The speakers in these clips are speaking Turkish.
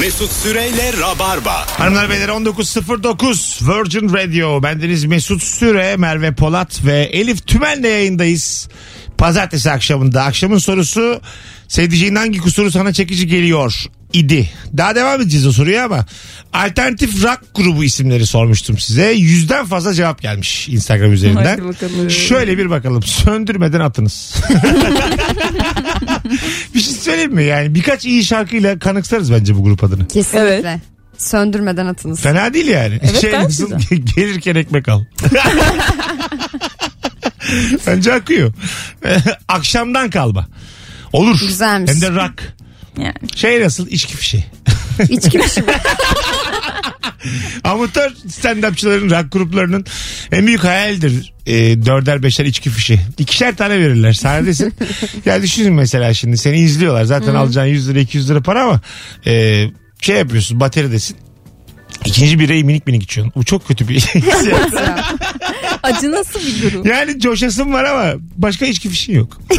Mesut Süreyle Rabarba. Hanımlar beyler 19.09 Virgin Radio. Bendeniz Mesut Süre, Merve Polat ve Elif Tümen'le yayındayız. Pazartesi akşamında. Akşamın sorusu sevdiceğin hangi kusuru sana çekici geliyor idi. Daha devam edeceğiz o soruya ama alternatif rock grubu isimleri sormuştum size. Yüzden fazla cevap gelmiş Instagram üzerinden. Hadi bakalım. Şöyle bir bakalım. Söndürmeden atınız. bir şey söyleyeyim mi? Yani birkaç iyi şarkıyla kanıksarız bence bu grup adını. Kesinlikle. Söndürmeden atınız. Fena değil yani. şey gayet kızım, gelirken ekmek al. Bence akıyor. Akşamdan kalma. Olur. Güzelmiş. Hem de rak. Yani. Şey nasıl içki fişi. İçki bir şey. Amatör stand-upçıların, rock gruplarının en büyük hayaldir. E, dörder beşer içki fişi. İkişer tane verirler. Sahnedesin. ya düşünün mesela şimdi seni izliyorlar. Zaten alacağın 100 lira 200 lira para ama e, şey yapıyorsun bateridesin. İkinci bireyi minik minik içiyorsun. Bu çok kötü bir hissiyat. Acı nasıl bir durum? Yani coşasın var ama başka hiçbir şey yok.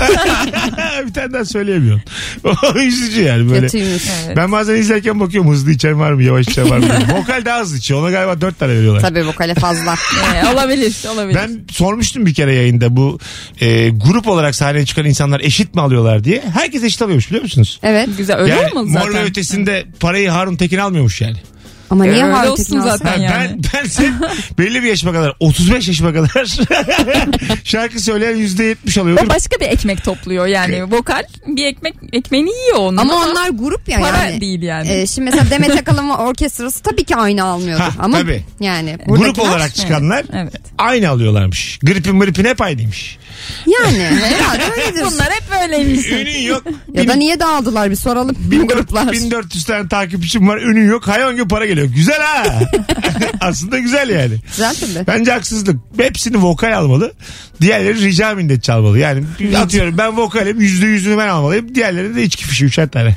bir tane daha söyleyemiyorum. O üzücü yani böyle. Kötüymüş. Ben bazen izlerken bakıyorum hızlı içen var mı yavaş içen var mı? diye. Vokal daha hızlı içiyor. Ona galiba dört tane veriyorlar. Tabii vokale fazla. Ee, olabilir, olabilir. Ben sormuştum bir kere yayında bu e, grup olarak sahneye çıkan insanlar eşit mi alıyorlar diye. Herkes eşit alıyormuş biliyor musunuz? Evet. Güzel öyle yani olmalı Mor ve zaten. Ötesi'nde parayı Harun Tekin almıyormuş yani. Ama niye Öyle Harun olsun Tekin alsın? zaten. Ha, yani. Ben, ben sen belli bir yaşıma kadar 35 yaşıma kadar şarkı söyleyen %70 alıyordur. O başka bir ekmek topluyor yani. Vokal bir ekmek ekmeğini yiyor onun. Ama onlar grup ya para yani. değil yani. Ee, şimdi mesela Demet Akalın orkestrası tabii ki aynı almıyordur. Ha, ama tabii. yani Grup buradakiler- olarak çıkanlar Evet. aynı alıyorlarmış. Gripin gripin hep aynıymış. Yani herhalde öyledir. Bunlar hep böyleymiş. Ünün yok. Ya da niye dağıldılar bir soralım bu gruplar. 1400 tane takipçim var. Ünün yok. Hayvan gibi para geliyor. Güzel ha. Aslında güzel yani. Güzel tabii. Bence haksızlık. Hepsini vokal almalı. Diğerleri rica minnet çalmalı. Yani atıyorum ben vokalim yüzde yüzünü ben almalıyım. Diğerleri de içki fişi üçer tane.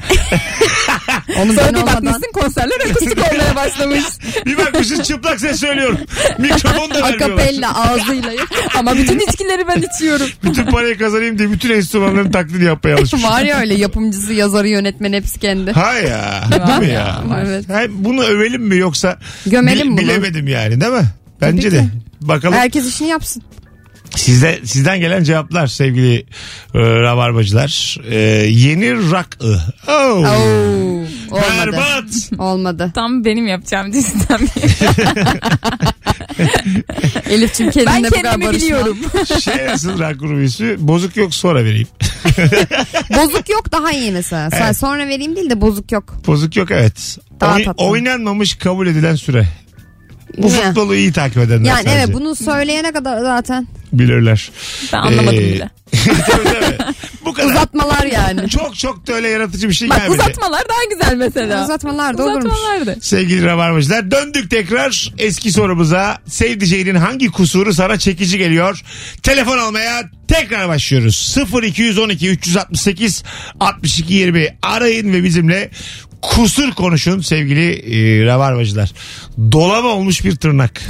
Onu Sonra ben bir olmadan bakmışsın konserler akustik olmaya başlamış. Bir bakmışız çıplak ses söylüyorum. Mikrofon da vermiyorlar. akapella ağzıyla yok. Ama bütün içkileri ben içiyorum. Bütün parayı kazanayım diye bütün enstrümanların taklidi yapmaya alışmış. Var ya öyle yapımcısı, yazarı, yönetmen hepsi kendi. Ha ya. Değil Var mi ya, ya? var. Evet. Ha, bunu övelim mi yoksa Gömelim bil- bunu. bilemedim yani değil mi? Bence Tabii de. ki. Bakalım Herkes işini yapsın. sizde sizden gelen cevaplar sevgili e, rabarbacılar. E, yeni rakı. Oh. Oo, olmadı. Berbat. Olmadı. Tam benim yapacağım cinsten bir. Elif'ciğim Ben kendine bu kadar kendimi barışma. biliyorum. Şey nasıl rock grubu ismi? Bozuk yok sonra vereyim. Bozuk yok daha iyi mesela. Sen Evet. sonra vereyim değil de bozuk yok. Bozuk yok evet. Daha Oy- tatlı. oynanmamış kabul edilen süre. Bu Ne? futbolu iyi takip edenler Yani sadece evet bunu söyleyene kadar zaten bilirler. Ben anlamadım Ee, bile. tabii, tabii. Bu kadar. uzatmalar yani. Çok çok da öyle yaratıcı bir şey Bak gelmedi. uzatmalar daha güzel mesela. Uzatmalar da olurmuş. Uzatmalar da. Sevgili Rabarbacılar döndük tekrar eski sorumuza. Sevdiceğinin hangi kusuru sana çekici geliyor? Telefon almaya tekrar başlıyoruz. 0212 368 62 20 arayın ve bizimle kusur konuşun sevgili e, Rabarbacılar. Dolama olmuş bir tırnak.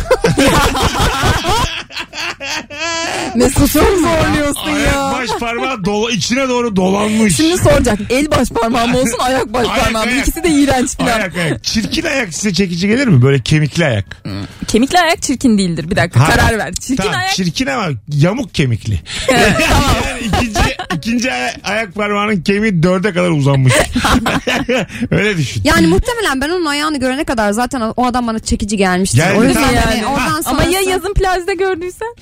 Mesut'u zorluyorsun Ayak ya. baş parmağı dola, içine doğru dolanmış. Şimdi soracak el baş parmağım olsun ayak baş Ayak, parmağım. ayak. İkisi de iğrenç falan. Ayak ayak. Çirkin ayak size çekici gelir mi? Böyle kemikli ayak. Kemikli ayak çirkin değildir. Bir dakika Ha. karar ver. Çirkin Tamam, ayak çirkin ama yamuk kemikli. yani ikinci, ikinci aya- ayak parmağının kemiği dörde kadar uzanmış. Öyle düşün. Yani muhtemelen ben onun ayağını görene kadar zaten o adam bana çekici gelmişti. Geldi, o yüzden tamam. hani Yani. oradan sonra ama ya yazın plajda gördüysen?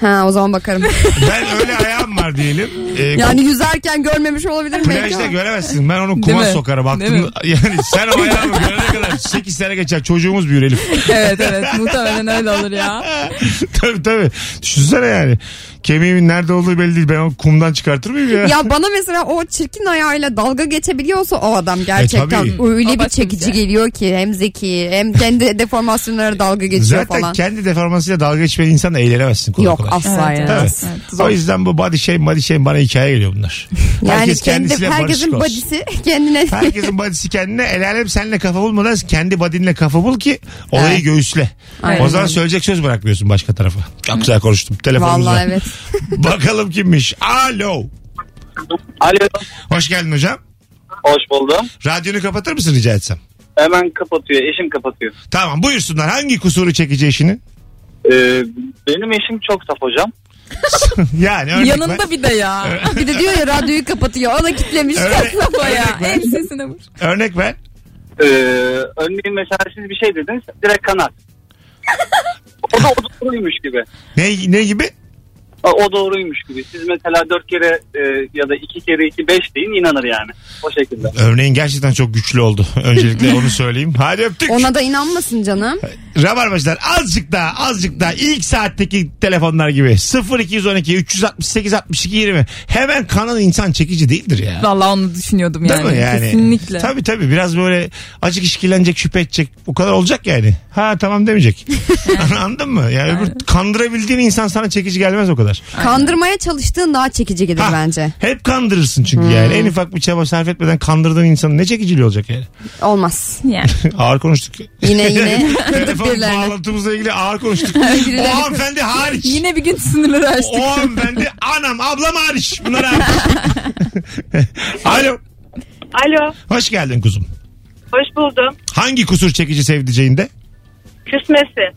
Ha o zaman bakarım. Ben öyle ayağım var diyelim. Ee, yani yüzerken görmemiş olabilir belki. Plajda ama. göremezsin. Ben onu şey Değil kuma mi? sokarım. Değil Aklım, mi? yani sen o ayağımı görene kadar 8 sene geçer. Çocuğumuz büyür Elif. evet evet muhtemelen öyle olur ya. tabii tabii. Düşünsene yani. Kemiğimin nerede olduğu belli değil. Ben onu kumdan çıkartır mıyım ya? Ya bana mesela o çirkin ayağıyla dalga geçebiliyorsa o adam gerçekten E, tabii. öyle O bir başka çekici bir şey. geliyor ki hem zeki hem kendi deformasyonlara dalga geçiyor Zaten falan. kendi deformasıyla dalga geçmeyen insanla eğlenemezsin kolay Yok kolay. asla Evet, yani. Tabii. Evet, zor. o yüzden bu body shame body shame bana hikaye geliyor bunlar. Yani Herkes kendi, kendisiyle barışık herkesin olsun. badisi kendine Herkesin body'si kendine. El alem senle kafa bulmadan kendi body'inle kafa bul ki olayı Evet. göğüsle. Aynen O zaman öyle. söyleyecek söz bırakmıyorsun başka tarafa. Çok güzel konuştum telefonumuzla. Vallahi evet. Bakalım kimmiş. Alo. Alo. Hoş geldin hocam. Hoş buldum. Radyonu kapatır mısın rica etsem? Hemen kapatıyor. Eşim kapatıyor. Tamam buyursunlar. Hangi kusuru çekici eşinin? Ee, benim eşim çok saf hocam. Yani örnek ver. Yanında bir de ya. Bir de diyor ya radyoyu kapatıyor. O da kitlemiş. Öyle. Kafa ya. En sesine vur. Örnek ver. Ee, örneğin mesela siz bir şey dediniz direkt kanar. o da o doğruymuş gibi. Ne, ne gibi? O- O doğruymuş gibi. Siz mesela dört kere e, ya da iki kere iki beş deyin inanır yani. O şekilde. Örneğin gerçekten çok güçlü oldu. Öncelikle onu söyleyeyim. Hadi öptük. Ona da inanmasın canım. Rabarbacılar azıcık daha azıcık daha ilk saatteki telefonlar gibi 0212 368 62 20 hemen kanan insan çekici değildir ya. Vallahi onu düşünüyordum Değil yani. mi yani? Kesinlikle. Tabii tabii biraz böyle acık işkilenecek şüphe edecek o kadar olacak yani. Ha tamam demeyecek. Anladın mı? Yani öbür kandırabildiğin insan sana çekici gelmez o kadar. Kandırmaya çalıştığın daha çekici gelir Ha, E, bence. Hep kandırırsın çünkü yani. En ufak bir çaba sarf etmeden kandırdığın insanın ne çekiciliği olacak yani. Olmaz. Yani. Ağır konuştuk. Yine yine kırdık Telefon birilerini. bağlantımızla ilgili ağır konuştuk. Birileri- o hanımefendi hariç. Yine bir gün sınırları aştık. O hanımefendi anam ablam hariç. Bunlar hariç. Alo. Alo, Hoş geldin kuzum. hoş buldum. Hangi kusur çekici sevdiceğinde? Küsmesi.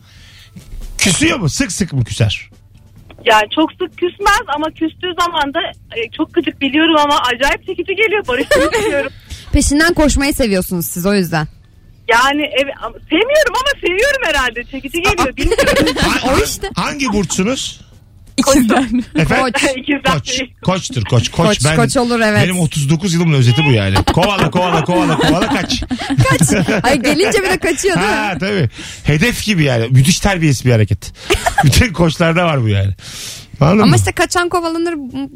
Küsüyor mu? Sık sık mı küser? Yani çok sık küsmez ama küstüğü zaman da e, çok gıcık biliyorum ama acayip çekici geliyor. Barışmak istiyorum. Peşinden koşmayı seviyorsunuz siz o yüzden. Yani ev, ama- sevmiyorum ama seviyorum herhalde. Çekici geliyor. Bilmiyorum. Ha- O işte. Hangi burçsunuz? İkizler. Efendim? Koç. İkizler. Koç. Koçtur koç. Koç, Koç, koç olur, evet. Benim 39 yılımın özeti bu yani. Kovala kovala kovala kovala kaç. Ay gelince bir de kaçıyor değil mi? Ha tabii. Hedef gibi yani. Müthiş terbiyesiz bir hareket. Bütün koçlarda var bu yani. Anladın Ama mı? işte kaçan kovalanır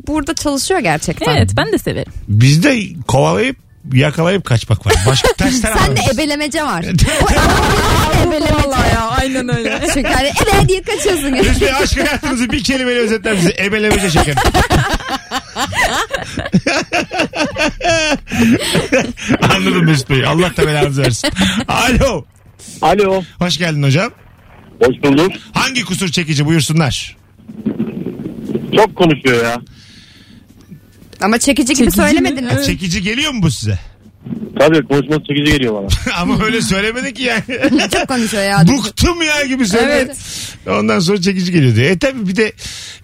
burada çalışıyor gerçekten. Evet ben de severim. Bizde kovalayıp yakalayıp kaçmak var. Başka tersten Sen de anlamışsın. ebelemece var. Vallahi ya aynen öyle. Çünkü hani ebe diye kaçıyorsun. ya. Biz bir aşk hayatınızı bir kelimeyle özetler bize. Ebelemece şeker. Anladım Mesut Bey. Allah da belanızı versin. Alo. Alo. Hoş geldin hocam. Hoş bulduk. Hangi kusur çekici buyursunlar? Çok konuşuyor ya. Ama çekici gibi Çekici mi? söylemediniz. Evet. Çekici geliyor mu bu size? Tabii konuşması çekici geliyor bana. Ama öyle söylemedi ki yani. Çok konuşuyor ya. Buktum ya gibi söyledi. Evet. Ondan sonra çekici geliyor diyor. E tabi bir de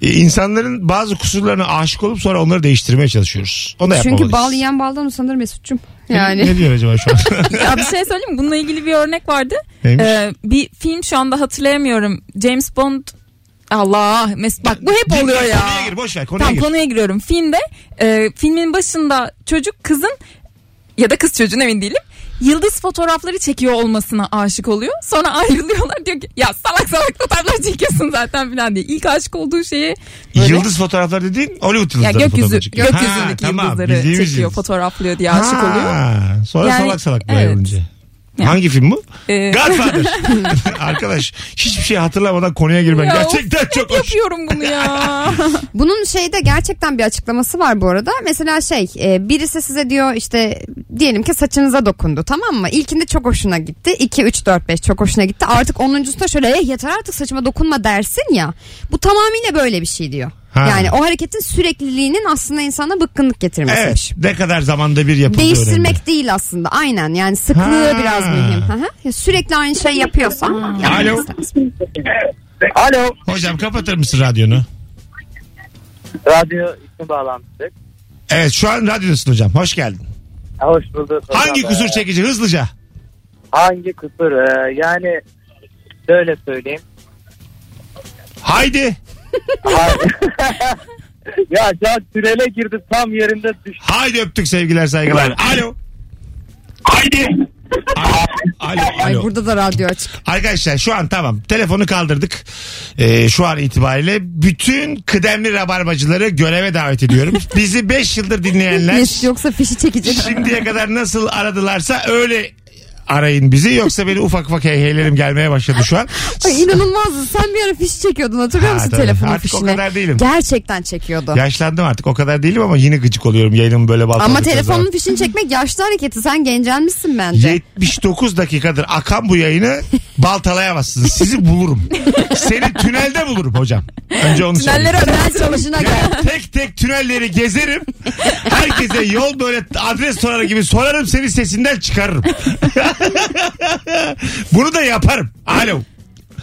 e, insanların bazı kusurlarına aşık olup sonra onları değiştirmeye çalışıyoruz. Onu da Çünkü yapamalıyız. bal yiyen baldan usanır Mesut'cum. Ne, Yani. ne diyor acaba şu an? Ya bir şey söyleyeyim mi? Bununla ilgili bir örnek vardı. Neymiş? Ee, bir film şu anda hatırlayamıyorum. James Bond Allah Mesut bak bu hep oluyor ya. Konuya gir boş ver konuya Tam gir. konuya giriyorum. Filmde e, filmin başında çocuk kızın ya da kız çocuğun emin değilim. Yıldız fotoğrafları çekiyor olmasına aşık oluyor. Sonra ayrılıyorlar diyor ki ya salak salak fotoğraflar çekiyorsun zaten filan diye. İlk aşık olduğu şeyi böyle Yıldız fotoğraflar dediğin Hollywood ya yıldızları gökyüzü, fotoğrafı çekiyor. Ha, gökyüzündeki tamam, yıldızları bildiğimiz çekiyor, yıldız. fotoğraflıyor diye aşık Ha, oluyor. Sonra Yani, salak salak evet. bayılınca. Yani. Hangi film bu? Ee, Godfather. Arkadaş hiçbir şey hatırlamadan konuya girmen ya, gerçekten hep çok hoş. yapıyorum bunu ya. Bunun şeyde gerçekten bir açıklaması var bu arada. Mesela şey e, birisi size diyor işte diyelim ki saçınıza dokundu tamam mı? İlkinde çok hoşuna gitti. 2, 3, 4, 5 çok hoşuna gitti. Artık 10.sunda şöyle "Eh, yeter artık saçıma dokunma dersin ya. Bu tamamıyla böyle bir şey diyor. Ha. Yani o hareketin sürekliliğinin aslında insana bıkkınlık getirmesiymiş. Evet ne kadar zamanda bir yapıldığı Değiştirmek önemli. değil aslında aynen yani sıklığı Ha. biraz mühim. Hı hı. Ya Sürekli aynı şeyi yapıyorsan. Alo. Alo. Hocam kapatır mısın radyonu? Radyo ismi bağlantısı. Evet şu an radyodasın hocam. Hoş geldin. Hoş bulduk. Hangi kusur çekici hızlıca? Hangi kusur? Ee, yani şöyle söyleyeyim. Haydi. ya can sürele girdi tam yerinde düştü. Haydi öptük sevgiler saygılar. Alo. Haydi. Alo. Alo. Ay alo. burada da radyo açık. Arkadaşlar şu an tamam telefonu kaldırdık. Ee, şu an itibariyle bütün kıdemli rabarbacıları göreve davet ediyorum. Bizi 5 yıldır dinleyenler Mesut yoksa fişi çekecek. şimdiye kadar nasıl aradılarsa öyle arayın bizi yoksa beni ufak ufak heyheylerim gelmeye başladı şu an. Ay inanılmazdı. Sen bir ara fiş çekiyordun hatırlıyor Ha, musun tabii. telefonun Artık o fişine? kadar değilim. Gerçekten çekiyordu. Yaşlandım artık o kadar değilim ama yine gıcık oluyorum yayınımı böyle baltaladıkları Ama zaman. telefonun fişini çekmek yaşlı hareketi. Sen gencelmişsin bence. 79 dakikadır akan bu yayını baltalayamazsınız. Sizi bulurum. Seni tünelde bulurum hocam. Önce onu söyleyeyim. Tünelleri Tünel çamaşına gel. Yani tek tek tünelleri gezerim. Herkese yol böyle adres sorar gibi sorarım seni sesinden çıkarırım. Bunu da yaparım. Alo.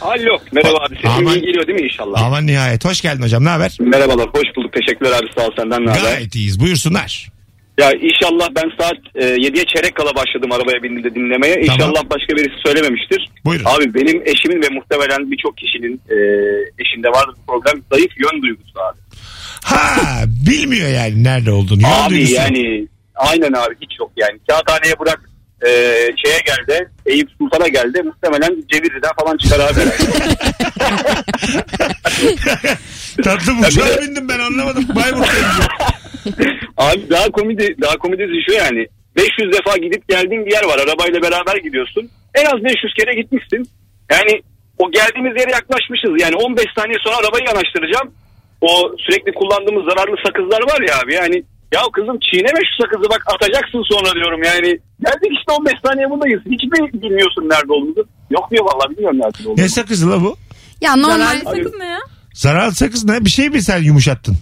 Alo. Merhaba abi. Sesim Aman. iyi geliyor değil mi inşallah? Aman nihayet. Hoş geldin hocam. Ne haber? Merhabalar. Hoş bulduk. Teşekkürler abi. Sağ ol senden ne haber? Gayet iyiyiz. Buyursunlar. Ya inşallah ben saat e, 7'ye çeyrek kala başladım arabaya bindiğimde dinlemeye. İnşallah başka birisi söylememiştir. Buyurun. Abi benim eşimin ve muhtemelen birçok kişinin e, eşinde vardır bu problem. Zayıf yön duygusu abi. Ha bilmiyor yani nerede olduğunu. Yön abi duygusu yok. yani aynen abi hiç yok yani. Kağıthaneye bırak e, şeye geldi. Eyüp Sultan'a geldi. Muhtemelen Ceviri'den falan çıkar abi. Tatlı bu uçağa bindim ben anlamadım. Bayburt'tayım. Abi daha komedi daha komedisi şu yani. 500 defa gidip geldiğin bir yer var. Arabayla beraber gidiyorsun. En az 500 kere gitmişsin. Yani o geldiğimiz yere yaklaşmışız. Yani 15 saniye sonra arabayı yanaştıracağım. O sürekli kullandığımız zararlı sakızlar var ya abi. Yani ya kızım çiğneme şu sakızı bak atacaksın sonra diyorum yani. Geldik işte 15 saniye buradayız. Hiç mi bilmiyorsun nerede olduğumuzu? Yok diyor vallahi bilmiyorum nerede olduğumuzu. Ne sakızı la bu? Ya normal. Normal sakız ne ya? Zararlı sakız ne? Bir şey mi sen yumuşattın?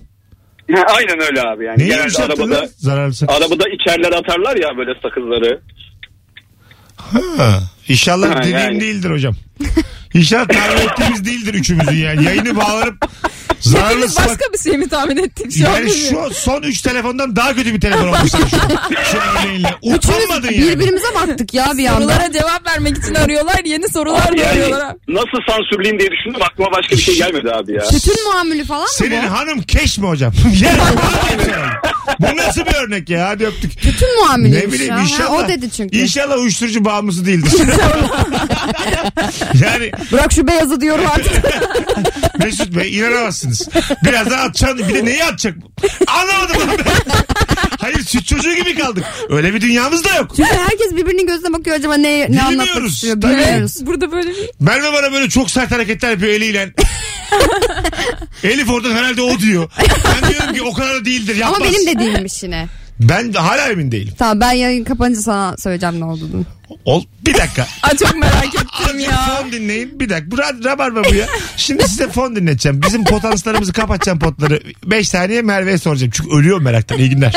Aynen öyle abi yani. Neyi Genelde yumuşattın arabada, lan? Zararlı sakız. arabada içerler atarlar ya böyle sakızları. Ha. İnşallah Ha, dediğim yani. değildir hocam. İnşallah tahmin ettiğimiz değildir üçümüzün yani. Yayını bağlanıp zararlı Hepimiz ıslak. başka bir şey mi tahmin ettik şu an Yani bilmiyorum. şu son üç telefondan daha kötü bir telefon olmuşsun şu, şu örneğinle. Üçümüz Utanmadın yani. birbirimize baktık ya bir anda. Sorulara cevap vermek için arıyorlar. Yeni sorular da Yani arıyorlar. abi. nasıl sansürleyeyim diye düşündüm aklıma başka bir şey gelmedi abi ya. Sütün muamülü falan mı Senin bu? hanım keş mi hocam? ya, şey bu nasıl bir örnek ya? Hadi öptük. Sütün Ne muamülüymüş bileyim ya. inşallah. şey. Ha, o dedi çünkü. İnşallah uyuşturucu bağımlısı değildir. yani Bırak şu beyazı diyorum artık. Mesut Bey inanamazsınız. Birazdan atacaksın. Bir de neyi atacak? Anlamadım. onu ben. Hayır süt çocuğu gibi kaldık. Öyle bir dünyamız da yok. Çünkü herkes birbirinin gözüne bakıyor acaba ne, ne anlatmak Bilmiyoruz. istiyor Tabii. bilmiyoruz. Burada böyle bir Merve bana böyle çok sert hareketler yapıyor eliyle. Elif oradan herhalde o diyor. Ben diyorum ki o kadar da değildir yapmaz. Ama benim de değilmiş yine. Ben hala emin değilim. Tamam ben yayın kapanınca sana söyleyeceğim ne olduğunu. Ol, bir dakika. Ay çok merak ettim Azıcık ya. fon dinleyin. Bir dakika. Bu rad- rabarba bu ya. Şimdi size fon dinleteceğim. Bizim potanslarımızı kapatacağım potları. 5 saniye Merve'ye soracağım. Çünkü ölüyorum meraktan. İyi günler.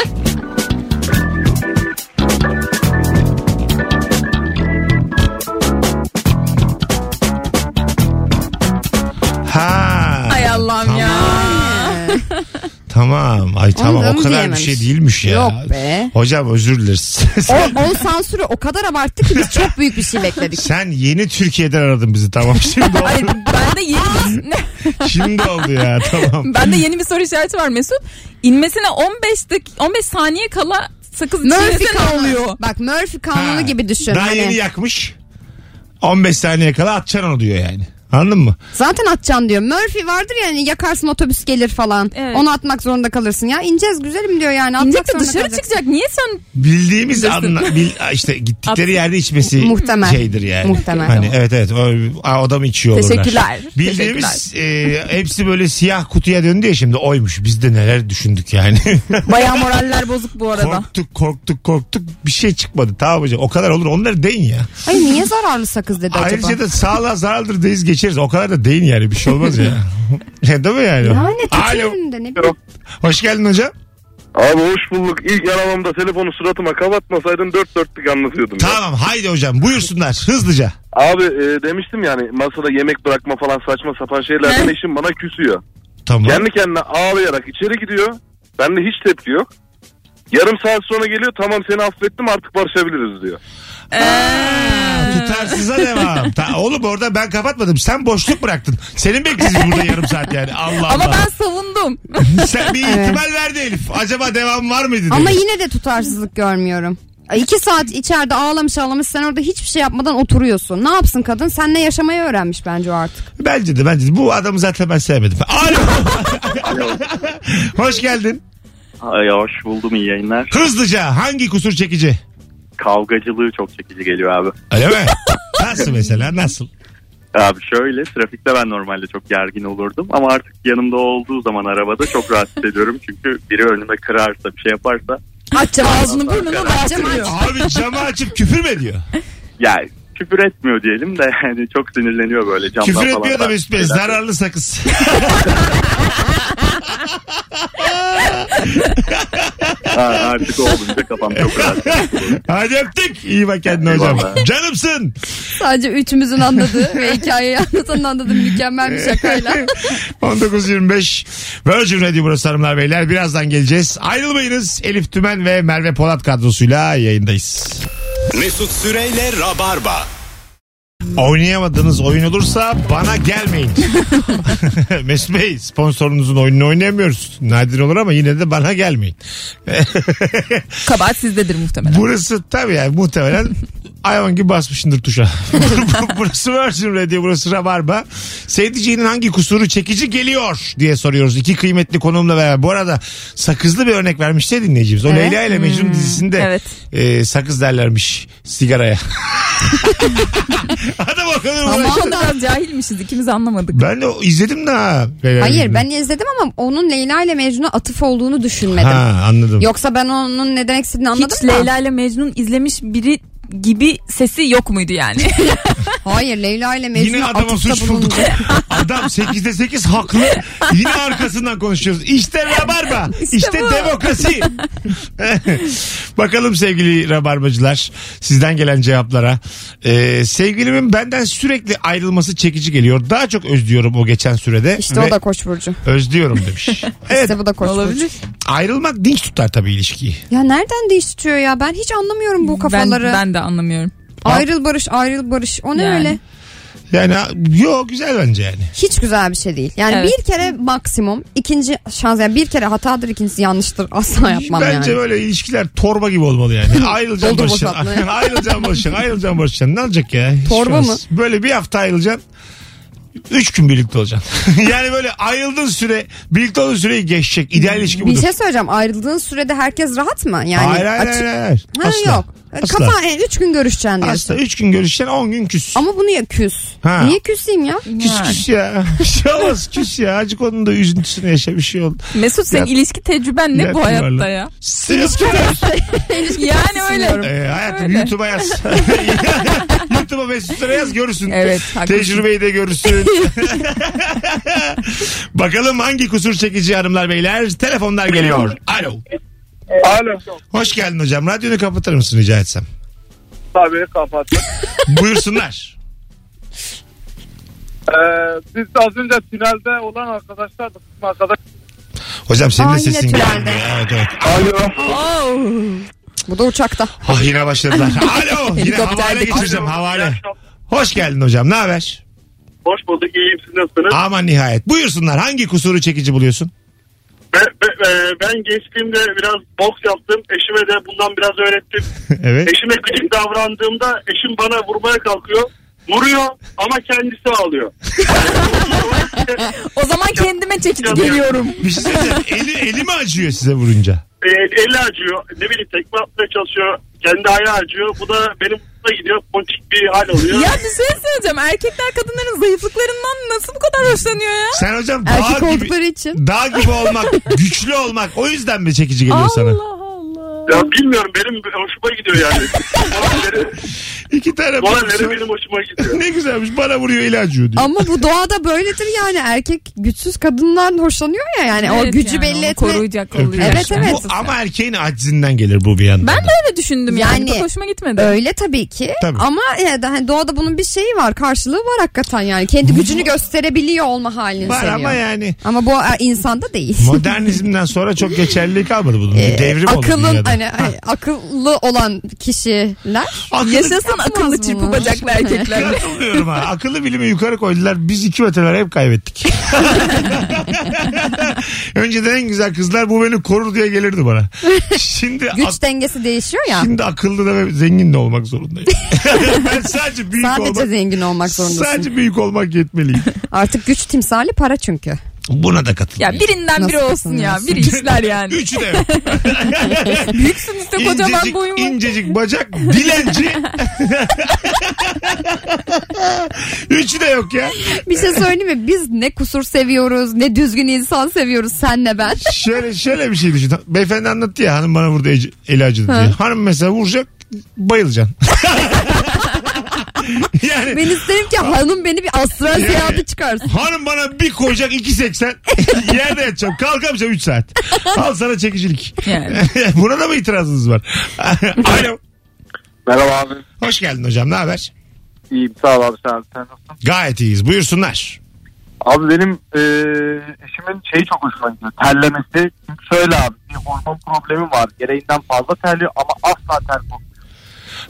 Ha. Ay Allah'ım ya. Tamam. Ay tamam da o mı kadar bir diyememiş? şey değilmiş ya. Yok be. Hocam özür dileriz. O, sen, o sansürü o kadar abarttı ki biz çok büyük bir şey bekledik. sen yeni Türkiye'den aradın bizi tamam. Şimdi Ay, oldu. ben de yeni ne? Şimdi oldu ya tamam. ben de yeni bir soru işareti var Mesut. İnmesine 15 dak 15 saniye kala sakız Murphy çiğnese ne kanunu. oluyor? Bak Murphy kanunu Ha. gibi düşün. Daha Hani yeni yakmış. 15 saniye kala atacaksın onu diyor yani. Anladın mı? Zaten atacaksın diyor. Murphy vardır ya hani yakarsın otobüs gelir falan. Evet. Onu atmak zorunda kalırsın. Ya ineceğiz güzelim diyor yani. Atmak İnecek de zorunda dışarı kalacaksın. çıkacak. Niye sen Bildiğimiz Bilirsin. anla, bil, işte gittikleri At- yerde içmesi Muhtemel. şeydir yani. Muhtemel. Hani evet evet o, Aa, o da mı içiyor olurlar. Teşekkürler. Bildiğimiz e, hepsi böyle siyah kutuya döndü ya şimdi oymuş. Biz de neler düşündük yani. Baya moraller bozuk bu arada. korktuk korktuk korktuk bir şey çıkmadı tamam hocam o kadar olur onları deyin ya. Ay niye zararlı sakız dedi acaba? Ayrıca da sağlığa zararlıdır deyiz geçeriz o kadar da deyin yani bir şey olmaz ya. Değil mi yani? Yani Alo. tütün önünde ne bileyim. Hoş geldin hocam. Abi hoş bulduk. İlk yaramamda telefonu suratıma kapatmasaydın dört dörtlük anlatıyordum. ya. Tamam haydi hocam buyursunlar hızlıca. Abi e, demiştim yani masada yemek bırakma falan saçma sapan şeylerden Ne? eşim bana küsüyor. Tamam. Kendi kendine ağlayarak içeri gidiyor. Bende hiç tepki yok. Yarım saat sonra geliyor tamam seni affettim artık barışabiliriz diyor. Ha, Tutarsıza devam. Ta, oğlum orada ben kapatmadım. Sen boşluk bıraktın. Senin bekliyoruz burada yarım saat yani. Allah Ama Allah. ben savundum. Sen bir ihtimal verdi Elif. Acaba devam var mıydı? Ama dedi. yine de tutarsızlık görmüyorum. Ay, İki saat içeride ağlamış ağlamış sen orada hiçbir şey yapmadan oturuyorsun. Ne yapsın kadın? Seninle yaşamayı öğrenmiş bence o artık. Bence de bence de. Bu adamı zaten ben sevmedim. Alo. Hoş geldin. Ay hoş buldum iyi yayınlar. Hızlıca hangi kusur çekici? kavgacılığı çok çekici geliyor abi. Öyle mi? Nasıl mesela nasıl? Abi şöyle trafikte ben normalde çok gergin olurdum ama artık yanımda olduğu zaman arabada çok rahat hissediyorum. Çünkü biri önüme kırarsa bir şey yaparsa Aç cam Ağzını burnunu bastırıyor. Abi camı açıp küfür mü ediyor? yani küfür etmiyor diyelim de yani çok sinirleniyor böyle camdan küfür falan. etmiyor da Mesut Bey zararlı sakız. Ha, artık o olunca kafam çok rahat. Hadi öptük. İyi bak kendine hocam. Eyvallah. Canımsın. Sadece üçümüzün anladığı ve hikayeyi anlatanın anladığı mükemmel bir şakayla. 19.25 Virgin Radio burası hanımlar beyler. Birazdan geleceğiz. Ayrılmayınız. Elif Tümen ve Merve Polat kadrosuyla yayındayız. Mesut Süreyle Rabarba. Oynayamadığınız oyun olursa bana gelmeyin. Mesut Bey sponsorunuzun oyununu oynayamıyoruz. Nadir olur ama yine de bana gelmeyin. Kabahat sizdedir muhtemelen. Burası tabii yani muhtemelen hayvan gibi basmışındır tuşa. burası Virgin Radio, burası Rabarba. Sevdiceğinin hangi kusuru çekici geliyor diye soruyoruz. İki kıymetli konuğumla beraber. Bu arada sakızlı bir örnek vermişti dinleyicimiz. O Evet. Leyla ile Mecnun Hmm, dizisinde evet. e, sakız derlermiş sigaraya. Adam o kadar uğraşıyor. Ama da cahilmişiz ikimiz anlamadık. Ben de o- izledim de ha. Leyla Hayır Mecnun'u. ben izledim ama onun Leyla ile Mecnun'a atıf olduğunu düşünmedim. Ha anladım. Yoksa ben onun ne demek istediğini anladım Hiç da. Leyla ile Mecnun izlemiş biri gibi sesi yok muydu yani? Hayır Leyla ile Yine Mecnun'a adama atıfta suç bulduk. bulundu. Adam 8'de 8 haklı. Yine arkasından konuşuyoruz. İşte rabarba. İşte, İşte bu. demokrasi. Bakalım sevgili rabarbacılar sizden gelen cevaplara. Ee, sevgilimin benden sürekli ayrılması çekici geliyor. Daha çok özlüyorum o geçen sürede. İşte ve o da Koç burcu. Özlüyorum demiş. evet İşte bu da Koç burcu. Olabilir. ayrılmak dinç tutar tabii ilişkiyi. Ya nereden değiştiriyor ya? Ben hiç anlamıyorum bu kafaları. Ben, ben de anlamıyorum. Ayrıl barış, ayrıl barış. O ne Yani. öyle? Yani yok güzel bence yani. Hiç güzel bir şey değil. Yani Evet. bir kere maksimum, ikinci şans yani bir kere hatadır, ikincisi yanlıştır. Asla yapmam Bence yani. böyle ilişkiler torba gibi olmalı yani. Ayrılacaksın Doldur barışacaksın. boşaltma. ayrılacaksın barışacaksın. Ayrılacaksın barışacaksın. Ne olacak ya? Hiç Torba olmaz. mı? Böyle bir hafta ayrılacaksın. Üç gün birlikte olacaksın. yani böyle ayrıldığın süre birlikte olduğun süreyi geçecek. İdeal ilişki Bir budur. şey söyleyeceğim. Ayrıldığın sürede herkes rahat mı? Yani hayır, hayır, açık- hayır, hayır. Ha, Asla. yok. E, Asla. Kafa yani üç gün görüşeceksin diyorsun. Asla. Üç gün görüşeceksin on gün küs. Ama bunu ya küs. Ha. Niye küseyim ya? Küs Yani. küs ya. Bir şey olmaz küs ya. Acık onun da üzüntüsünü yaşa bir şey oldu. Mesut senin Ya- ilişki tecrüben ne Ya bu hayatta yuvarlan. ya? İlişki yani öyle. Ee, hayatım Öyle. YouTube'a yaz. YouTube'a Mesut Süre yaz görürsün. Evet, haklısın. Tecrübeyi de görürsün. Bakalım hangi kusur çekici hanımlar beyler. Telefonlar geliyor. Alo. Alo. Hoş geldin hocam. Radyonu kapatır mısın rica etsem? Tabii kapat. Buyursunlar. biz az önce tünelde olan arkadaşlar arkadaş. Hocam senin Aa, de yine sesin tünelde. gelmiyor. Evet evet. Alo. Bu da uçakta. Ah yine başladılar. Alo. Yine havale geçireceğim havale. Hoş geldin hocam. Ne haber? Hoş bulduk. İyiyim. Siz nasılsınız? Aman nihayet. Buyursunlar. Hangi kusuru çekici buluyorsun? Ben, ben, e, ben geçtiğimde biraz boks yaptım. Eşime de bundan biraz öğrettim. evet. Eşime gıcık davrandığımda eşim bana vurmaya kalkıyor. Vuruyor ama kendisi ağlıyor. O zaman kendime çekici Ya- geliyorum. Bir şey söyleyeceğim. Eli, eli mi acıyor size vurunca? E, eli acıyor. Ne bileyim tekme atmaya çalışıyor. Kendi ayağı acıyor. Bu da benim mutlu gidiyor. Ponçik bir hal oluyor. Ya bir şey söyleyeceğim. Erkekler kadınların zayıflıklarından nasıl bu kadar hoşlanıyor ya? Sen hocam dağ Erkek gibi, oldukları için. dağ gibi olmak, güçlü olmak o yüzden mi çekici geliyor sana? Allah Allah. Ya bilmiyorum benim hoşuma gidiyor yani. Molalleri, İki tane molalleri bakıyorsun. benim hoşuma gidiyor. Ne güzelmiş bana vuruyor eli acıyor diyor. Ama bu doğada böyledir yani. Erkek güçsüz kadından hoşlanıyor ya yani. o Evet gücü yani, belli onu etme. koruyacak oluyor. Öpüyorsun. Evet, evet. Bu, ama erkeğin aczinden gelir bu bir yandan. Ben de öyle düşündüm yani. Yani- Çok hoşuma gitmedi. Öyle tabii ki. Tabii. Ama e, daha- doğada bunun bir şeyi var. Karşılığı var hakikaten yani. Kendi gücünü gösterebiliyor olma halini Var seviyor. ama yani. Ama bu e, insanda değil. Modernizmden sonra çok geçerliliği kalmadı bunun. Bir E, devrim oldu akılın dünyada. hani ay, akıllı olan kişiler Akıllı- Yaşasın akıllı çırpı bunu. bacaklı erkekler. Katılmıyorum ha. Akıllı bilimi yukarı koydular. Biz iki metre hep kaybettik. Önceden en güzel kızlar bu beni korur diye gelirdi bana. Şimdi güç ak- dengesi değişiyor ya. Şimdi akıllı da ve zengin de olmak zorundayım. ben sadece büyük Sadece olmak zengin olmak zorundasın. Sadece büyük olmak yetmeliyim. Artık güç timsali para çünkü. Buna da katıl. Ya birinden biri Nasıl olsun ya. kazanıyorsun? Biri işler yani. Üçü de. Büyüksünüz de kocaman incecik, boyum var. incecik bacak, dilenci. Üçü de yok ya. Bir şey söyleyeyim mi? Biz ne kusur seviyoruz, ne düzgün insan seviyoruz senle ben. Şöyle şöyle bir şey düşün. Beyefendi anlattı ya hanım bana burada eci- eli acıdı diye. Hanım mesela vuracak bayılacaksın. yani Ben isterim ki hanım beni bir astral seyahate çıkarsın. hanım bana bir koyacak 2.80 yerde yatacağım. Kalkamayacağım 3 saat. Al sana çekicilik. Yani. Buna da mı itirazınız var? Alo. Merhaba abi. Hoş geldin hocam ne haber? İyiyim sağ ol abi sen, sen nasılsın? Gayet iyiyiz buyursunlar. Abi benim e, eşimin şeyi çok hoşuma gidiyor. Terlemesi. Çünkü şöyle abi bir hormon problemi var. Gereğinden fazla terliyor ama asla ter kokmuyor.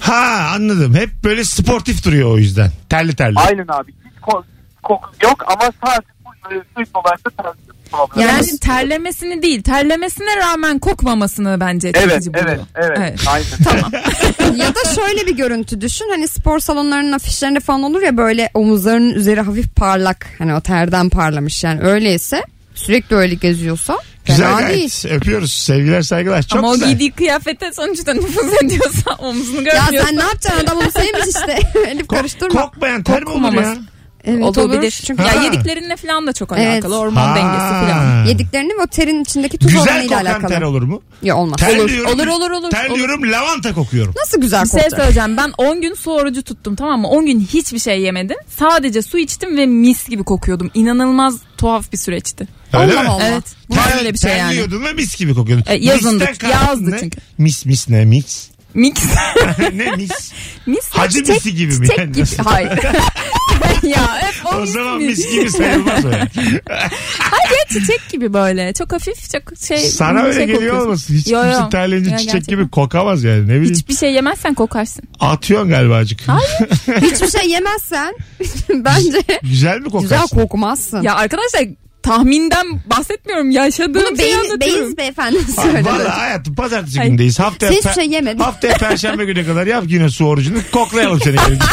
Ha anladım. Hep böyle sportif duruyor o yüzden. Terli terli. Aynen abi. Hiç ko- koku yok ama sadece bu e, sürekli olarak da ter problemi. Yani Yalnız- terlemesini değil, terlemesine rağmen kokmamasını bence Evet, çekici evet, buluyor. evet, Evet. Aynen. Tamam. ya da şöyle bir görüntü düşün. Hani spor salonlarının afişlerinde falan olur ya böyle omuzlarının üzeri hafif parlak. Hani o terden parlamış yani öyleyse sürekli öyle geziyorsa Güzel fena değil. gayet. Öpüyoruz. Sevgiler saygılar. Çok Ama güzel. o giydiği kıyafete sonuçta nüfuz ediyorsa omzunu Ya görmüyorsa. sen ne yapacaksın adam onu sevmiş işte. Elif Ko- karıştırma. kokmayan ter mi olur ya? Kokmaması. Evet, olabilir. Çünkü Ha. Ya yediklerinle falan da çok alakalı. Evet. Hormon Ha. dengesi falan. yediklerini ve o terin içindeki tuz Güzel oranıyla kokan ter alakalı. olur mu? Ya olmaz. Terliyorum. Olur, olur, olur. Terliyorum lavanta kokuyorum. Nasıl güzel Bir şey kokacak? söyleyeceğim. Ben 10 gün su orucu tuttum tamam mı? 10 gün hiçbir şey yemedim. Sadece su içtim ve mis gibi kokuyordum. İnanılmaz tuhaf bir süreçti. Öyle Allah mi? Allah. Evet. Bu Ter- öyle bir şey yani. Terliyordun ve mis gibi kokuyordun. E, yazındı, Misten kastın yazdı ne? çünkü. Mis mis ne mis? Mix. ne mis? mis Hacı çiçek- misi gibi mi? çiçek Yani gibi. nasıl? Hayır. ya hep o, O mis zaman gibi. mis gibi sayılmaz o yani. Hayır çiçek gibi böyle. Çok hafif çok şey. Sana öyle şey geliyor kokuyorsun. olmasın? Hiç Yo, yo. kimse terleyince Ya çiçek gerçekten. gibi kokamaz yani ne bileyim. Hiçbir şey yemezsen kokarsın. Atıyorsun galiba acık. Hiçbir şey yemezsen bence Güzel mi kokarsın? güzel kokmazsın. Ya arkadaşlar tahminden bahsetmiyorum. Yaşadığım Bunu şeyi beyin, şey anlatıyorum. beyiz beyefendi Ay, söyledi. Valla hayatım pazartesi Ay. gündeyiz. Haftaya, Sen hiçbir şey yemedin. haftaya perşembe güne kadar yap yine su orucunu. Koklayalım seni. gelince.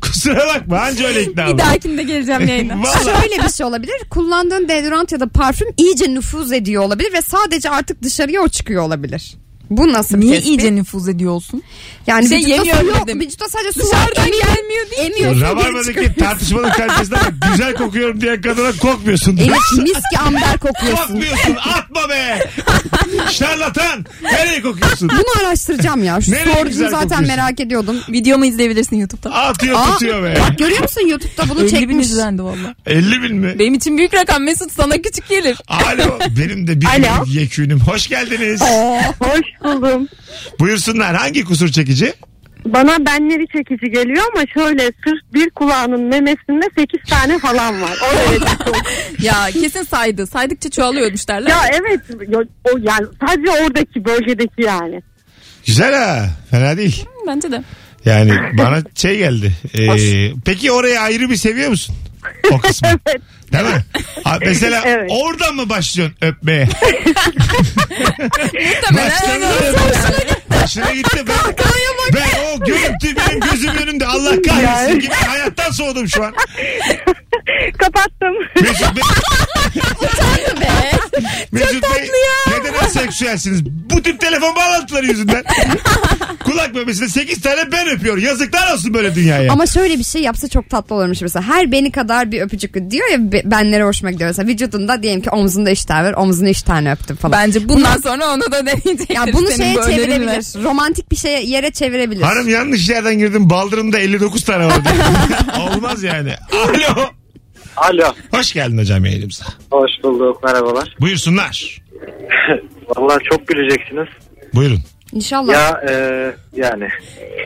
Kusura bakma anca öyle ikna Bir olur. dahakinde geleceğim yayına. Valla. Şöyle bir şey olabilir. Kullandığın deodorant ya da parfüm iyice nüfuz ediyor olabilir ve sadece artık dışarıya o çıkıyor olabilir. Bu nasıl bir Niye tespit? iyice nüfuz ediyorsun? Yani Şey vücutta su yemiyorum yok. dedim. Vücutta sadece su var. Dışarıdan gelmiyor değil mi? Emiyorsun geri çıkıyor. Rabarba'daki tartışmanın kalitesine bak. Güzel kokuyorum diyen kadına kokmuyorsun. Elif mis ki amber kokuyorsun. kokmuyorsun atma be. Şarlatan. Nereye kokuyorsun? Bunu araştıracağım ya. Şu Nereye güzel soruyu zaten kokuyorsun? merak ediyordum. Videomu izleyebilirsin YouTube'da. Atıyor Aa, tutuyor be. bak görüyor musun YouTube'da bunu 50 bin çekmiş. izlendi valla. 50 bin mi? Benim için büyük rakam Mesut sana küçük gelir. Alo benim de bir Alo. Ee. yekünüm. Hoş geldiniz. Hoş buldum. Buyursunlar hangi kusur çekici? Bana benleri çekici geliyor ama şöyle sırf bir kulağının memesinde 8 tane falan var. O derece çok. ya kesin saydı. Saydıkça çoğalıyormuş derler. ya evet yo- o yani sadece oradaki bölgedeki yani. Güzel ha. Fena değil. Bence de. Yani bana şey geldi. Ee, peki orayı ayrı bir seviyor musun? O kısmı. Evet. Değil mi? Ha, mesela Evet. oradan mı başlıyorsun öpmeye? Muhtemelen Başlarına öyle. Başına gitti. Ben, ben o görüntü benim gözüm önümde. Allah kahretsin gibi hayattan soğudum şu an. Kapattım. Mesut Bey. Mesut Bey neden aseksüelsiniz? Bu tip telefon bağlantıları yüzünden. Kulak memesine 8 tane ben öpüyor. Yazıklar olsun böyle dünyaya. Ama şöyle bir şey yapsa çok tatlı olurmuş mesela. Her beni kadar bir öpücük diyor ya be- benlere hoşuma gidiyor. Mesela vücudunda diyelim ki omzunda üç tane var. Omzuna üç tane öptüm falan. Bence bundan sonra onu da deneyecektir. Ya bunu Senin şeye bölgelerin çevirebilir. var. Romantik bir şeye yere çevirebilir. Hanım yanlış yerden girdim. Baldırımda 59 tane var. Olmaz yani. Alo. Alo. Hoş geldin hocam yayınımıza. Hoş bulduk merhabalar. Buyursunlar. Vallahi çok güleceksiniz. Buyurun. İnşallah. Ya e, yani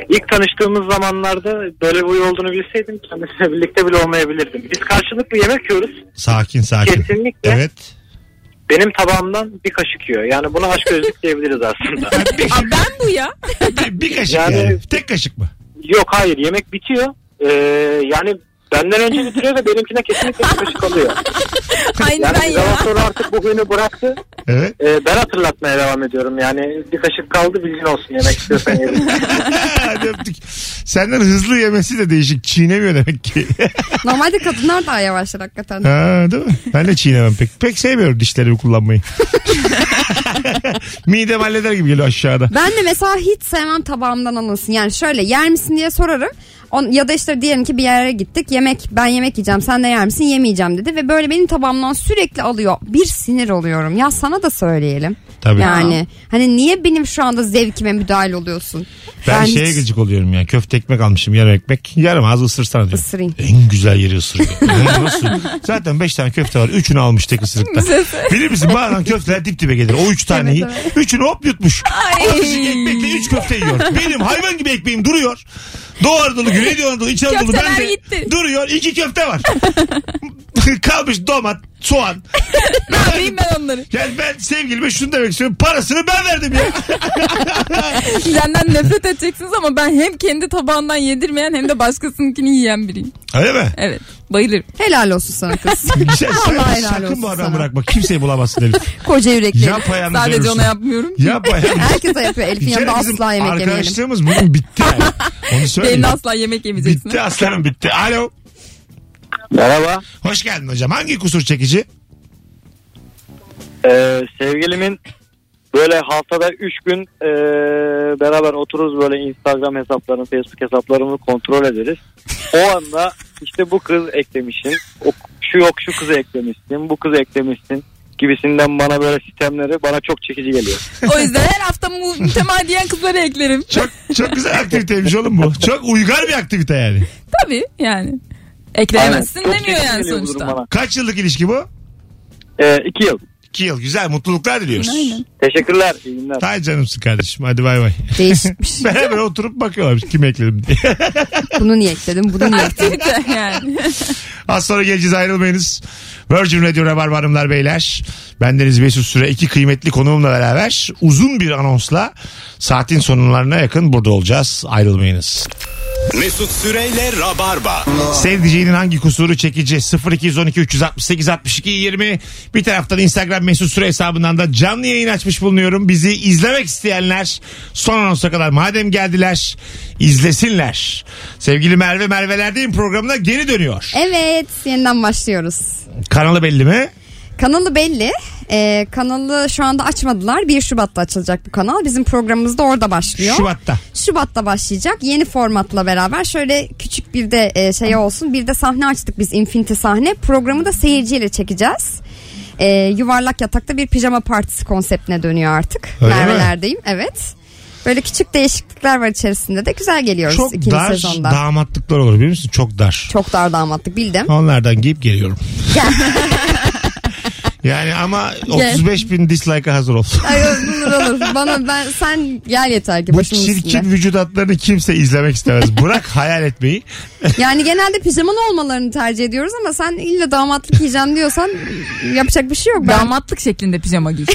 ilk tanıştığımız zamanlarda böyle boy olduğunu bilseydim kendisiyle birlikte bile olmayabilirdim. Biz karşılıklı yemek yiyoruz. Sakin sakin. Kesinlikle. Evet. Benim tabağımdan bir kaşık yiyor. Yani buna aşk gözlük diyebiliriz aslında. Aa, ben bu ya. Bir, bir kaşık yani... Yani- Tek kaşık mı? Yok hayır yemek bitiyor. E, yani benden önce bitiriyor ve benimkine kesinlikle bir kaşık alıyor. Aynı Yani ben bir zaman ya. sonra artık bu huyunu bıraktı. Evet. E, ben hatırlatmaya devam ediyorum. Yani bir kaşık kaldı bilgin olsun yemek istiyorsan yiyebilirsin. Hadi öptük. Senden hızlı yemesi de değişik. Çiğnemiyor demek ki. Normalde kadınlar daha yavaşlar hakikaten. ha, değil mi? Ben de çiğnemem pek. Pek sevmiyorum dişlerimi kullanmayı. Midem halleder gibi geliyor aşağıda. Ben de mesela hiç sevmem tabağımdan alınsın. Yani şöyle yer misin diye sorarım. On, ya da işte diyelim ki bir yere gittik yemek ben yemek yiyeceğim sen de yer misin yemeyeceğim dedi. Ve böyle benim tabağımdan sürekli alıyor. Bir sinir oluyorum ya sana da söyleyelim. Tabii. Yani hani niye benim şu anda zevkime müdahil oluyorsun? Ben, şeye hiç- gıcık oluyorum ya. Köfte ekmek almışım yarım ekmek. Yarım ağzı ısırsana diyorum. Isırayım. En güzel yeri ısırıyor. Yani nasıl? Zaten 5 tane köfte var. 3'ünü almış tek ısırıkta. Bilir misin bazen köfteler dip dibe gelir. O 3 taneyi. 3'ünü hop yutmuş. O kişi ekmekle 3 köfte yiyor. Benim hayvan gibi ekmeğim duruyor. Doğu Anadolu, Güneydoğu Anadolu, İç Anadolu Köfteler bende gitti. duruyor. 2 köfte var. Kalmış domat, soğan. Ne yapayım ben onları? Yani ben sevgilime şunu demek istiyorum. Parasını ben verdim ya. Senden nefret edeceksiniz ama ben hem kendi tabağından yedirmeyen hem de başkasınınkini yiyen biriyim. Öyle mi? Evet bayılırım. Helal olsun sana kız. Sen, sen- Allah helal sakın olsun bu adamı sana. bırakma. Kimseyi bulamazsın herif. Koca yürekli. Yapayalnız Sadece ölürsün. ona yapmıyorum. Yapayalnız. Herkese yapıyor. Bir Elif'in kere yanında bizim asla yemek yemeyelim. Arkadaşlığımız bugün bitti yani. Onu söyleyeyim. Benim de asla yemek yemeyeceksin. Bitti aslanım bitti. Alo. Merhaba. Hoş geldin hocam. Hangi kusur çekici? Ee, sevgilimin böyle haftada 3 gün ee, beraber otururuz böyle Instagram hesaplarını, Facebook hesaplarını kontrol ederiz. O anda işte bu kız eklemişsin, o, şu yok şu kızı eklemişsin, bu kızı eklemişsin gibisinden bana böyle sistemleri bana çok çekici geliyor. O yüzden her hafta mu- mütemadiyen kızları eklerim. Çok çok güzel aktiviteymiş oğlum bu. Çok uygar bir aktivite yani. Tabii yani. Eklenemezsin Aynen. Çok demiyor çekici yani geliyor bu durum sonuçta. bana. Kaç yıllık ilişki bu? Ee, iki yıl. İki yıl. Güzel. Mutluluklar diliyoruz. Aynen. Teşekkürler. iyi günler. Tay canımsın kardeşim. Hadi bay bay. Değişmiş. Beraber oturup bakıyorlarmış kim ekledim diye. Bunu niye ekledim? Bunu niye ekledim? Aktivite yani. Az sonra geleceğiz ayrılmayınız. Virgin Radio Rabarba Hanımlar Beyler. Bendeniz Mesut Süre iki kıymetli konuğumla beraber uzun bir anonsla saatin sonlarına yakın burada olacağız. Ayrılmayınız. Mesut Süreyle Rabarba. Sevdiceğinin hangi kusuru çekici 0212 368 62 20 bir taraftan Instagram mesut süre hesabından da canlı yayın açmış bulunuyorum. Bizi izlemek isteyenler son anonsa kadar madem geldiler izlesinler. Sevgili Merve Merve'lerdeyim programına geri dönüyor. Evet yeniden başlıyoruz. Kanalı belli mi? Kanalı belli. Ee, kanalı şu anda açmadılar. 1 Şubat'ta açılacak bu kanal. Bizim programımız da orada başlıyor. Şubat'ta. Şubat'ta başlayacak. Yeni formatla beraber şöyle küçük bir de e, şey olsun. Bir de sahne açtık biz Infinity sahne. Programı da seyirciyle çekeceğiz. Ee, yuvarlak yatakta bir pijama partisi konseptine dönüyor artık. Öyle mi? Merve'lerdeyim. Evet. Böyle küçük değişiklikler var içerisinde de güzel geliyoruz Çok ikinci dar sezonda. damatlıklar olur biliyor musun? Çok dar. Çok dar damatlık bildim. Onlardan giyip geliyorum. yani ama 35 bin dislike'a hazır ol. Ay olur olur. Bana ben sen gel yeter ki Bu başımın üstünde. çirkin vücut hatlarını kimse izlemek istemez. Bırak hayal etmeyi. Yani genelde pijamalı olmalarını tercih ediyoruz ama sen illa damatlık giyeceğim diyorsan yapacak bir şey yok. Ben Damatlık şeklinde pijama giy.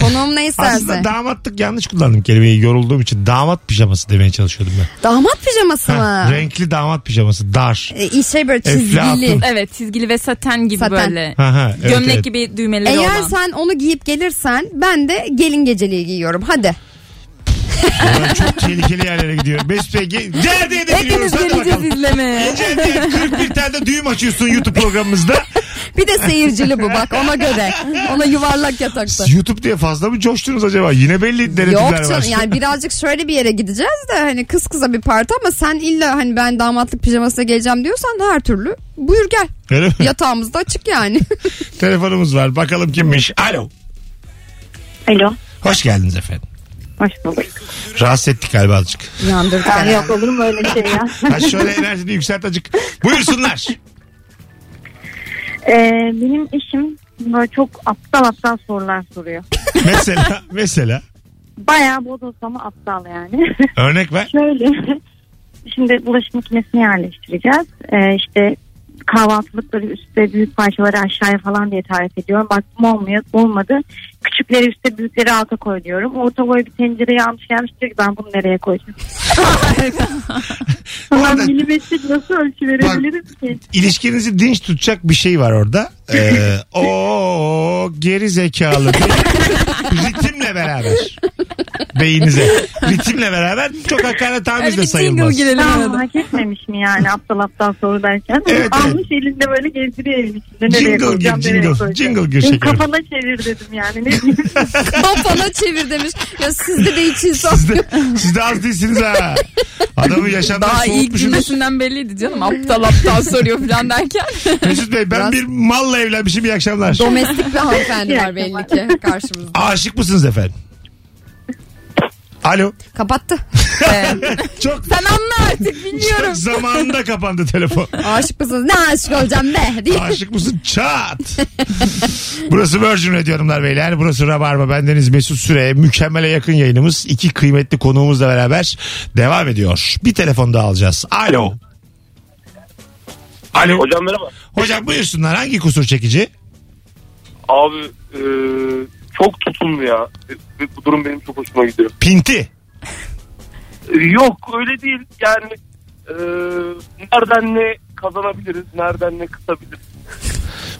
konuğum ne isterse. Aslında damatlık yanlış kullandım kelimeyi yorulduğum için. Damat pijaması demeye çalışıyordum ben. Damat pijaması Ha, mı? renkli damat pijaması. Dar. Ee, şey böyle Eflatun. çizgili. evet çizgili ve saten gibi Saten. böyle. Ha, ha, evet, Gömlek evet. gibi düğmeleri Eğer olan. sen onu giyip gelirsen ben de gelin geceliği giyiyorum. Hadi. Ben çok tehlikeli yerlere gidiyorum. Mesut Bey ge- nerede edebiliyoruz? Hepimiz Hadi geleceğiz bakalım. izlemeye. Gece 41 tane de düğüm açıyorsun YouTube programımızda. Bir de seyircili bu bak ona göre. Ona yuvarlak yatakta. YouTube diye fazla mı coştunuz acaba? Yine belli denetimler Yok var. canım yani birazcık şöyle bir yere gideceğiz de hani kız kıza bir parti ama sen illa hani ben damatlık pijamasına geleceğim diyorsan da her türlü buyur gel. Öyle mi? Yatağımız da açık yani. Telefonumuz var. Bakalım kimmiş? Alo. Alo. Hoş geldiniz efendim. Hoş bulduk. Rahatsız ettik galiba azıcık. Yandırdık Ben herhalde. yok olur mu öyle şey ya? Ha şöyle enerjini yükselt azıcık. Buyursunlar. Ee, benim eşim böyle çok aptal aptal sorular soruyor. mesela mesela Bayağı bodoz ama aptal yani. örnek ver. Şöyle. Şimdi bulaşık makinesini yerleştireceğiz. Ee, işte kahvaltılıkları üstte büyük parçaları aşağıya falan diye tarif ediyorum. Baktım olmuyor, olmadı. Küçükleri üstte büyükleri alta koy diyorum. Orta boy bir tencereye almış gelmiş diyor ki ben bunu nereye koyacağım? Falan Orada- milimetrik nasıl ölçü verebilirim ki? İlişkinizi dinç tutacak bir şey var orada. Ee, o geri zekalı bir ritimle beraber. beyinize. Ritimle beraber çok hakaret tamiz Öyle de bir jingle sayılmaz. girelim Tamam arada. hak etmemiş mi yani aptal aptal soru derken. Evet, Almış elinde böyle gezdiriyor evin içinde. nereye Jingle koyacağım gir nereye jingle. koyacağım. Jingle gir Benim şekerim. kafana çevir dedim yani. Ne diyeyim? Kafana çevir demiş. Ya sizde de hiç insan. Siz de, siz de az değilsiniz ha. Adamı yaşamdan Daha ilk soğutmuşsunuz. cümlesinden belliydi canım. Aptal aptal soruyor falan derken. Mesut Bey ben Biraz- bir malla evlenmişim iyi akşamlar. Domestik bir hanımefendi var belli ki karşımızda. Aşık mısınız efendim? Alo. Kapattı. Çok, Sen anla artık çok bilmiyorum. zamanında kapandı telefon. Aşık mısınız? Ne aşık olacağım be diye. Aşık mısın? Çat. burası Virgin Radio hanımlar beyler. Burası Rabarba. Bendeniz Mesut Süre. Mükemmele yakın yayınımız. iki kıymetli konuğumuzla beraber devam ediyor. Bir telefon daha alacağız. Alo. Alo. Hocam, Hocam merhaba. buyursunlar. Hangi kusur çekici? Abi e, çok tutumlu ya. Bu durum benim çok hoşuma gidiyor. E, Pinti. Yok öyle değil. Yani e, nereden ne kazanabiliriz, nereden ne kısabiliriz.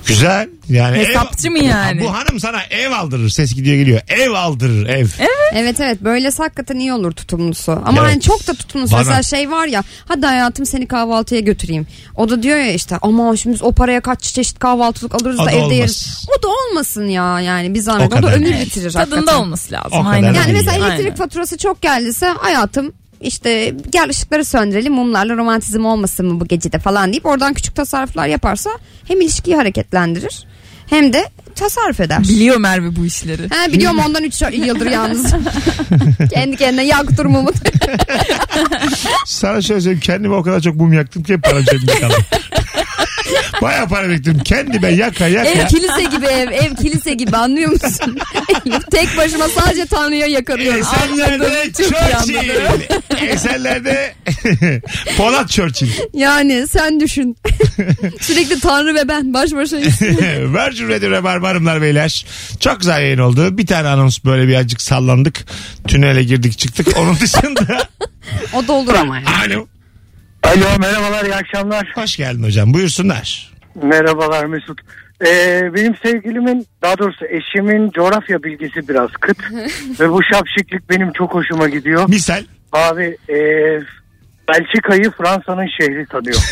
Güzel. Yani ev- Hesapçı mı yani? Bu hanım sana ev aldırır. Ses gidiyor geliyor. Ev aldırır ev. Evet evet böylesi hakikaten iyi olur tutumlusu. Ama Evet. hani çok da tutumlusu. Bana- Mesela şey var ya hadi hayatım seni kahvaltıya götüreyim. O da diyor ya işte ama şimdi biz o paraya kaç çeşit kahvaltılık alırız O da da evde olmaz. yeriz. O da olmasın ya yani bir O zahmet. O, da kadar. ömür Evet, bitirir Tadında hakikaten. olması O lazım. kadar Aynen. da Yani değil. mesela Aynen. elektrik faturası çok geldiyse hayatım işte gel ışıkları söndürelim mumlarla romantizm olmasın mı bu gecede falan deyip oradan küçük tasarruflar yaparsa hem ilişkiyi hareketlendirir hem de tasarruf eder. Biliyor Merve bu işleri. Ha, biliyorum ondan 3 yıldır yalnız. Kendi kendine yak durumu Sana şöyle söyleyeyim kendime o kadar çok mum yaktım ki hep para cebimde kaldı. Baya para biriktirdim. Kendime yaka Ev yaka. kilise gibi ev, ev kilise gibi anlıyor musun? Tek başıma sadece Tanrı'ya yakarıyorum. Esenler'de Çok iyi Churchill. Esenler'de Polat Churchill. Yani sen düşün. Sürekli Tanrı ve ben baş başayız. Virgin Radio Rabarba hanımlar beyler. Çok güzel yayın oldu. Bir tane anons böyle birazcık sallandık. Tünele girdik çıktık. Onun dışında. O da olur ama yani. Alo. Alo merhabalar iyi akşamlar. Hoş geldin hocam. Buyursunlar. Merhabalar Mesut. E, benim sevgilimin daha doğrusu eşimin coğrafya bilgisi biraz kıt. Ve bu şapşiklik benim çok hoşuma gidiyor. Misal. Abi e, Belçika'yı Fransa'nın şehri sanıyor.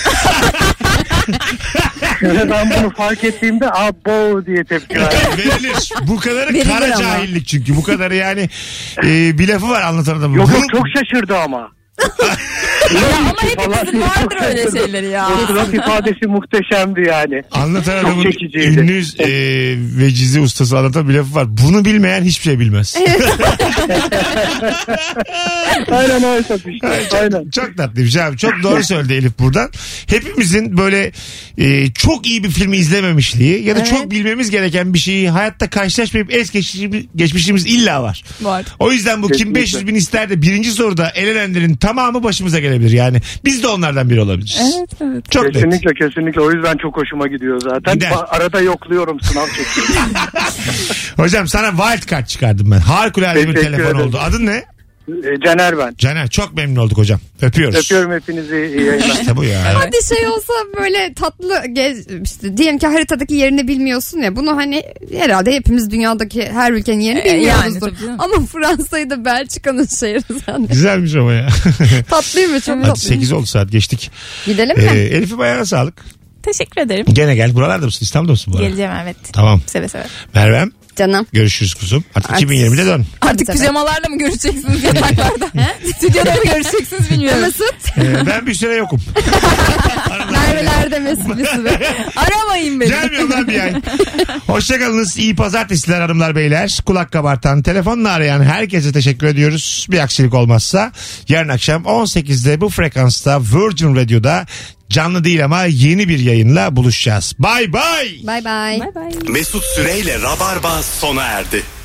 Şimdi ben bunu fark ettiğimde abo diye tepki verdim. Verilir. Bu kadarı Verilir kara ama. cahillik çünkü. Bu kadarı yani e, bir lafı var anlatan adamın. Yok Bu- yok çok şaşırdı ama. Ya ama hepimizin vardır öyle şeyleri ya. O surat ifadesi muhteşemdi yani. Anlatan şey- Çok adamın çekiciydi. ünlü e, vecizi ustası anlatan bir lafı var. Bunu bilmeyen hiçbir şey bilmez. Aynen öyle işte. Aynen. çok tatlıymış abi. Çok doğru söyledi Elif buradan. Hepimizin böyle e, çok iyi bir filmi izlememişliği ya da çok bilmemiz gereken bir şeyi hayatta karşılaşmayıp es geçişi- geçmişimiz illa var. Var. O yüzden bu kim Kesinlikle. 500 bin ister de birinci soruda elenenlerin tamamı başımıza gelebilir. Yani biz de onlardan biri olabiliriz. Evet evet. Çok net. Kesinlikle kesinlikle o yüzden çok hoşuma gidiyor zaten. Gider. Ba- Arada yokluyorum sınav çekiyorum. Hocam sana wild card çıkardım ben. Harikulade bir Teşekkür telefon ederim. oldu. Adın ne? E, Caner ben. Caner çok memnun olduk hocam. Öpüyoruz. Öpüyorum hepinizi iyi yayınlar. İşte bu ya. Hadi şey olsa böyle tatlı gez, işte diyelim ki haritadaki yerini bilmiyorsun ya bunu hani herhalde hepimiz dünyadaki her ülkenin yerini E, yani bilmiyoruzdur. tabii canım. ama Fransa'yı da Belçika'nın şehri zannediyorum. Güzelmiş ama ya. Tatlıymış çok Hadi tatlı. 8 oldu saat geçtik. Gidelim Ee, mi? Elif'im ayağına sağlık. Teşekkür ederim. Gene gel. Buralarda mısın? İstanbul'da mısın bu ara? Geleceğim evet. Tamam. Seve seve. Merve'm Canım. görüşürüz kuzum. Artık Artık- 2020'de dön. Artık Tabii. pijamalarla mı görüşeceksiniz yataklarda? He? Stüdyoda mı görüşeceksiniz bilmiyorum. Mesut. Ee, ben bir süre yokum. Mervelerde Mesut bir sürü. Aramayın beni. Gelmiyorum lan bir ay. Hoşçakalınız. İyi pazartesiler hanımlar beyler. Kulak kabartan, telefonla arayan herkese teşekkür ediyoruz. Bir aksilik olmazsa yarın akşam 18'de bu frekansta Virgin Radio'da canlı değil ama yeni bir yayınla buluşacağız. Bay bay. Bay bay. Bay bay. Mesut Süreyle Rabarba sona erdi.